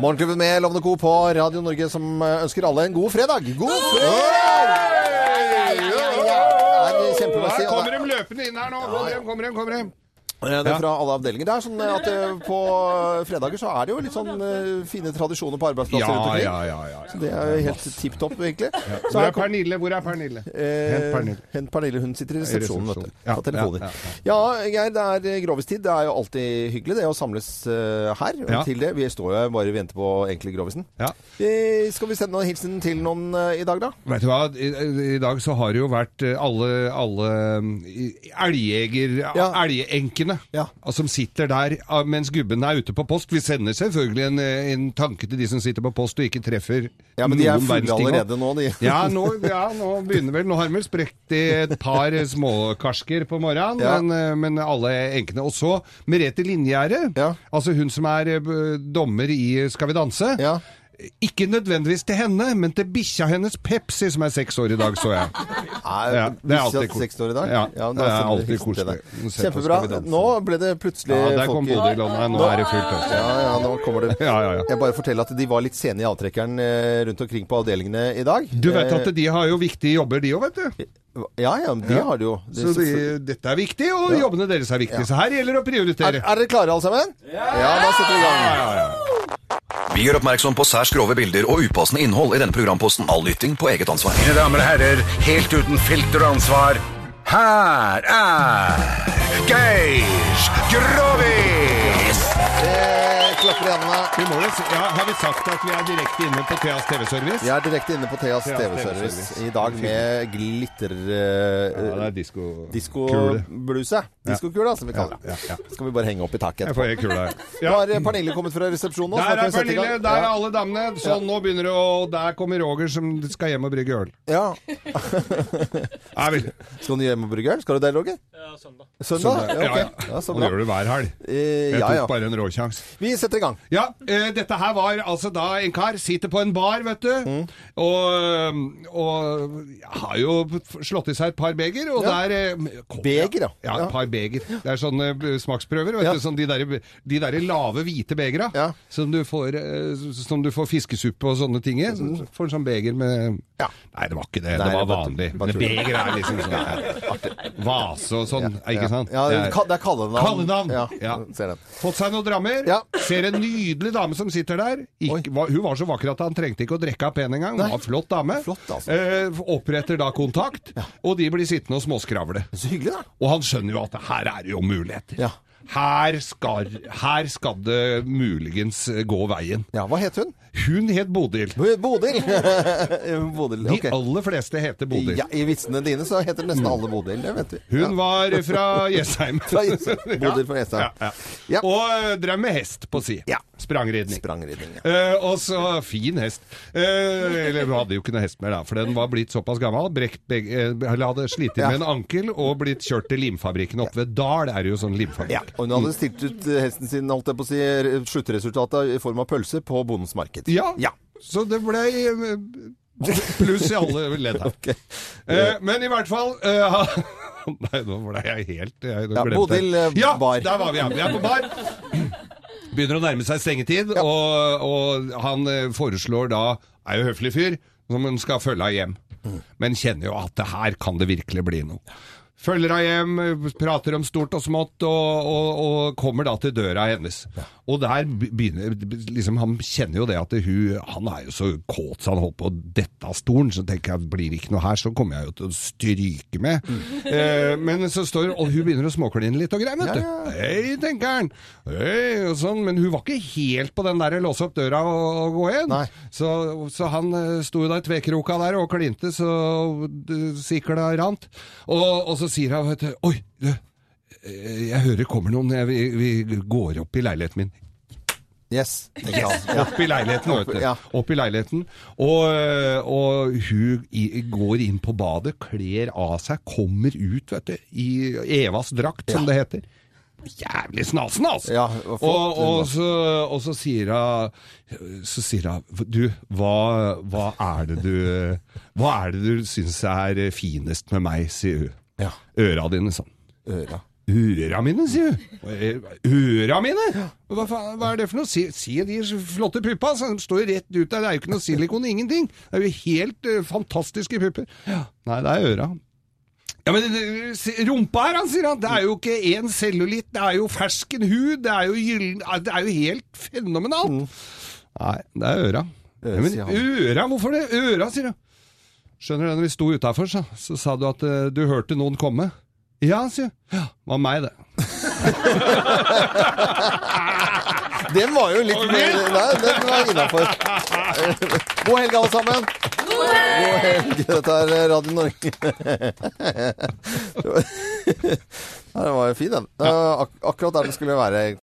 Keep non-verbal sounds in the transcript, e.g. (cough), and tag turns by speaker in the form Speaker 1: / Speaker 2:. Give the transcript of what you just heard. Speaker 1: Morgenklubben med Lovende Co. på Radio Norge som eh, ønsker alle en god fredag. God fredag! Det er
Speaker 2: Her
Speaker 1: kjempemessig. og
Speaker 2: kommer
Speaker 1: det-
Speaker 2: de løpende inn her nå. Kommer de, kommer de, kommer de.
Speaker 1: Det er fra alle avdelinger. Det er sånn at eh, på fredager så er det jo litt sånn eh, fine tradisjoner på arbeidsplasser rundt omkring.
Speaker 2: ja, ja.
Speaker 1: Det er jo helt tipp topp, egentlig. Så
Speaker 2: Hvor
Speaker 1: her
Speaker 2: er
Speaker 1: kom,
Speaker 2: Pernille? Hvor er Pernille?
Speaker 1: eh,
Speaker 2: Hent Pernille.
Speaker 1: Hent Pernille. Hun sitter i resepsjonen, vet du.
Speaker 2: Ja,
Speaker 1: På telefoner.
Speaker 2: ja,
Speaker 1: Ja, Geir, det er eh, grovistid. Det er jo alltid hyggelig det å samles eh, her og
Speaker 2: Ja.
Speaker 1: til det. Vi står jo her bare og venter på egentlig grovisen.
Speaker 2: Ja.
Speaker 1: Eh, skal vi sende noen hilsen til noen eh, i dag, da?
Speaker 2: Vet du hva, I, i dag så har det jo vært eh, alle, alle mm, i- elgjeger...
Speaker 1: Ja.
Speaker 2: Elgenkene
Speaker 1: Ja.
Speaker 2: altså, som sitter der ah, mens gubben er ute på post. Vi sender selvfølgelig en, eh, en tanke til de som sitter på post og ikke treffer
Speaker 1: Ja, men de er
Speaker 2: noen
Speaker 1: fulle
Speaker 2: verdens ting nå.
Speaker 1: allerede nå, de.
Speaker 2: Ja, nå, ja, nå begynner vel Nå har de vel sprukket i et par eh, småkarsker på morgenen,
Speaker 1: Ja.
Speaker 2: men, eh, men alle enkene. Og så Merete Linjære,
Speaker 1: Ja.
Speaker 2: altså hun som er eh, b- dommer i eh, Skal vi danse.
Speaker 1: Ja.
Speaker 2: Ikke nødvendigvis til henne, men til bikkja hennes Pepsi, som er seks år i dag, så jeg.
Speaker 1: Er,
Speaker 2: Ja, det er alltid
Speaker 1: bikkja til
Speaker 2: ko-
Speaker 1: seks år i dag.
Speaker 2: Ja,
Speaker 1: men
Speaker 2: det er
Speaker 1: sånn
Speaker 2: alltid
Speaker 1: hilsen til
Speaker 2: koselig.
Speaker 1: deg.
Speaker 2: Nå ser jeg på Skal vi
Speaker 1: Kjempebra.
Speaker 2: danse.
Speaker 1: Nå ble (laughs) det plutselig
Speaker 2: Ja, der kom
Speaker 1: folk i-
Speaker 2: Bodil, og nei, nå er det fullt øs.
Speaker 1: Ja, ja, nå kommer det.
Speaker 2: Ja, ja, ja.
Speaker 1: Jeg bare forteller at de var litt sene i avtrekkeren eh, rundt omkring på avdelingene i dag.
Speaker 2: Du vet at
Speaker 1: Eh,
Speaker 2: de har jo viktige jobber, de òg, vet du.
Speaker 1: Ja, ja, men de
Speaker 2: Ja.
Speaker 1: har det jo. Det er
Speaker 2: Så de,
Speaker 1: selvfølgelig-
Speaker 2: dette er viktig, og jobbene deres er viktige. Så her gjelder det å
Speaker 1: er,
Speaker 2: prioritere.
Speaker 1: er dere klare, alle sammen? Ja! da setter vi i gang.
Speaker 3: Vi gjør oppmerksom på særs grove bilder og upassende innhold i denne programposten. All lytting på eget ansvar.
Speaker 4: Mine damer og herrer, helt uten filter og ansvar, her er Geir Grovis!
Speaker 1: Eh, klapper i hendene.
Speaker 2: Vi må jo, si- ja, har vi sagt at vi er direkte inne på Theas TV-service?
Speaker 1: Vi er direkte inne på Theas
Speaker 2: Theas
Speaker 1: TV-service
Speaker 2: TV-service.
Speaker 1: i dag med glitter... Eh,
Speaker 2: Ja, det er disko... Kule.
Speaker 1: Diskobluse. Diskokula, som vi kaller det.
Speaker 2: Ja, ja,
Speaker 1: Skal vi bare henge opp i taket
Speaker 2: Jeg
Speaker 1: etterpå.
Speaker 2: får helt kule her.
Speaker 1: Nå
Speaker 2: (laughs) Ja.
Speaker 1: har eh, Pernille kommet fra resepsjonen. nå, så
Speaker 2: Der
Speaker 1: da
Speaker 2: er
Speaker 1: kan vi sette i
Speaker 2: Pernille,
Speaker 1: gang.
Speaker 2: der er alle damene. Sånn, nå begynner det å Der kommer Roger som skal hjem og brygge øl.
Speaker 1: Ja.
Speaker 2: Nei vel.
Speaker 1: ja. Skal du hjem og brygge øl? Skal du det, Roger? Ja, søndag. Søndag? Ja, ok.
Speaker 2: Ja,
Speaker 1: ja, så
Speaker 2: Det
Speaker 1: bra.
Speaker 2: gjør du hver helg.
Speaker 1: Eh,
Speaker 2: Jeg
Speaker 1: ja, ja.
Speaker 2: tok bare en råsjans.
Speaker 1: Vi setter i gang.
Speaker 2: Ja, eh, dette her var altså da en kar sitter på en bar, vet du,
Speaker 1: Mm.
Speaker 2: og, og har jo slått i seg et par beger, og
Speaker 1: Ja.
Speaker 2: der eh, kom-
Speaker 1: Beger, ja.
Speaker 2: Ja,
Speaker 1: Ja.
Speaker 2: et par beger. Det er sånne eh, smaksprøver, vet
Speaker 1: Ja.
Speaker 2: du, sånn de der, de der lave hvite begera,
Speaker 1: Ja.
Speaker 2: som, du får, eh, som du får fiskesuppe og sånne ting i. Så får en sånn beger med...
Speaker 1: Ja.
Speaker 2: Nei, det var ikke det,
Speaker 1: Nei,
Speaker 2: det var
Speaker 1: det var-
Speaker 2: vanlig.
Speaker 1: bare
Speaker 2: Men
Speaker 1: tull.
Speaker 2: beger er liksom
Speaker 1: (laughs)
Speaker 2: sånn vase og sånn, er ikke sant?
Speaker 1: Ja,
Speaker 2: Det
Speaker 1: det
Speaker 2: er-
Speaker 1: er kallenavn.
Speaker 2: Kallenavn.
Speaker 1: Ja,
Speaker 2: Ja.
Speaker 1: Ser den.
Speaker 2: Fått seg noen drammer.
Speaker 1: Ja.
Speaker 2: Ser en nydelig dame som sitter der. Ikke, var, hun var så vakker at han trengte ikke å drikke av pen engang. Hun var en Flott dame.
Speaker 1: Flott, altså.
Speaker 2: eh, oppretter da kontakt, og de blir sittende og småskravle.
Speaker 1: Så hyggelig, da.
Speaker 2: Og han skjønner jo at her er det jo muligheter.
Speaker 1: Ja.
Speaker 2: Her, skal, her skal det muligens gå veien.
Speaker 1: Ja, Hva het hun?
Speaker 2: Hun het Bodil.
Speaker 1: Bo- Bodil. (laughs) Bodil,
Speaker 2: De
Speaker 1: ok.
Speaker 2: aller fleste heter Bodil.
Speaker 1: Ja, I vitsene dine så heter nesten alle Bodil. Det vet vi.
Speaker 2: Hun
Speaker 1: Ja.
Speaker 2: var fra Jessheim.
Speaker 1: (laughs) Fra Jessheim. Bodil fra Jessheim.
Speaker 2: (laughs) Ja, ja,
Speaker 1: Ja.
Speaker 2: ja. Og eh, drev med hest på si.
Speaker 1: Ja.
Speaker 2: Sprangridning.
Speaker 1: Sprangridning. Ja.
Speaker 2: Eh, og så Fin hest. Eh, eller hun hadde jo ikke noe hest mer, da, for den var blitt såpass gammel. Brekt begge, eh, eller hadde slitt
Speaker 1: Ja.
Speaker 2: med en ankel og blitt kjørt til limfabrikken oppe ved Dal. Det er jo sånn limfabrikk.
Speaker 1: Ja, og hun hadde stilt ut eh, hesten sin, holdt jeg på å si, re- sluttresultatet i form av pølse på bondens marked.
Speaker 2: Ja.
Speaker 1: Ja.
Speaker 2: Så det ble eh, pluss i alle ledd her. Eh, men i hvert fall eh, (laughs) Nei, nå ble jeg helt jeg, nå
Speaker 1: Ja,
Speaker 2: glemte
Speaker 1: Bodil, eh,
Speaker 2: jeg. ja,
Speaker 1: bar.
Speaker 2: der var vi. Ja. Vi er på bar. (clears throat) Begynner å nærme seg stengetid, og, og han eh, foreslår da Er jo høflig fyr, som hun skal følge av hjem. Men kjenner jo at det her kan det virkelig bli noe. Følger av hjem, eh, prater om stort og smått, og, og, og kommer da til døra hennes. Og der begynner liksom, Han kjenner jo det at hun Han er jo så kåt så han holder på å dette av stolen. Så tenker jeg blir det ikke noe her, så kommer jeg jo til å stryke med. Eh, men så står Og hun begynner å småkline litt og greier, vet du. Hei, tenker han. Hei, og sånn. Men hun var ikke helt på den der låse opp døra og, og gå inn.
Speaker 1: Nei.
Speaker 2: Så, så han eh, sto jo da i tvekroka der og klinte, så d- sikla rant. Og, og så sier han, vet du, oi, du, eh, jeg hører kommer noen, jeg, vi, vi går opp i leiligheten min.
Speaker 1: Yes. tenker han. Ja.
Speaker 2: Opp i leiligheten, vet du.
Speaker 1: Ja.
Speaker 2: Opp i leiligheten. Og, eh, og hun i, går inn på badet, kler av seg, kommer ut, vet du, i Evas drakt, som det heter. Jævlig snasen, altså!
Speaker 1: Ja, og flott
Speaker 2: og,
Speaker 1: hun
Speaker 2: og,
Speaker 1: var.
Speaker 2: så, og så sier hun Så sier hun Du, hva, hva er det du Hva er det du syns er finest med meg, sier hun.
Speaker 1: Ja.
Speaker 2: Øra dine, sånn.
Speaker 1: Øra.
Speaker 2: Øra mine, sier hun. Øra mine? Hva, faen, hva er det for noe? Se, se de flotte puppa, altså, de står jo rett ut der. Det er jo ikke noe silikon, ingenting. Det er jo helt eh, fantastiske pupper. Ja, nei, det er øra. Ja, men eh, se- rumpa her, han sier han, det er jo ikke én cellulitt, det er jo fersken hud, det er jo gyllen ah, Det er jo helt fenomenalt. Nei, det er øra.
Speaker 1: Ø,
Speaker 2: Ja, men
Speaker 1: Mm. sier han.
Speaker 2: øra, hvorfor det? Øra, sier han. Skjønner du, når vi sto utafor, så, så sa du at eh, du hørte noen komme. Ja, sier jeg. Ja, det var meg, det.
Speaker 1: Den var jo litt mer Nei, den var
Speaker 2: (laughs)
Speaker 1: innafor. God helg, alle sammen. God helg! Dette er Radio Norge. (laughs) Nei, den var jo fin, den. Eh, Ak Eh, akkurat der den skulle være.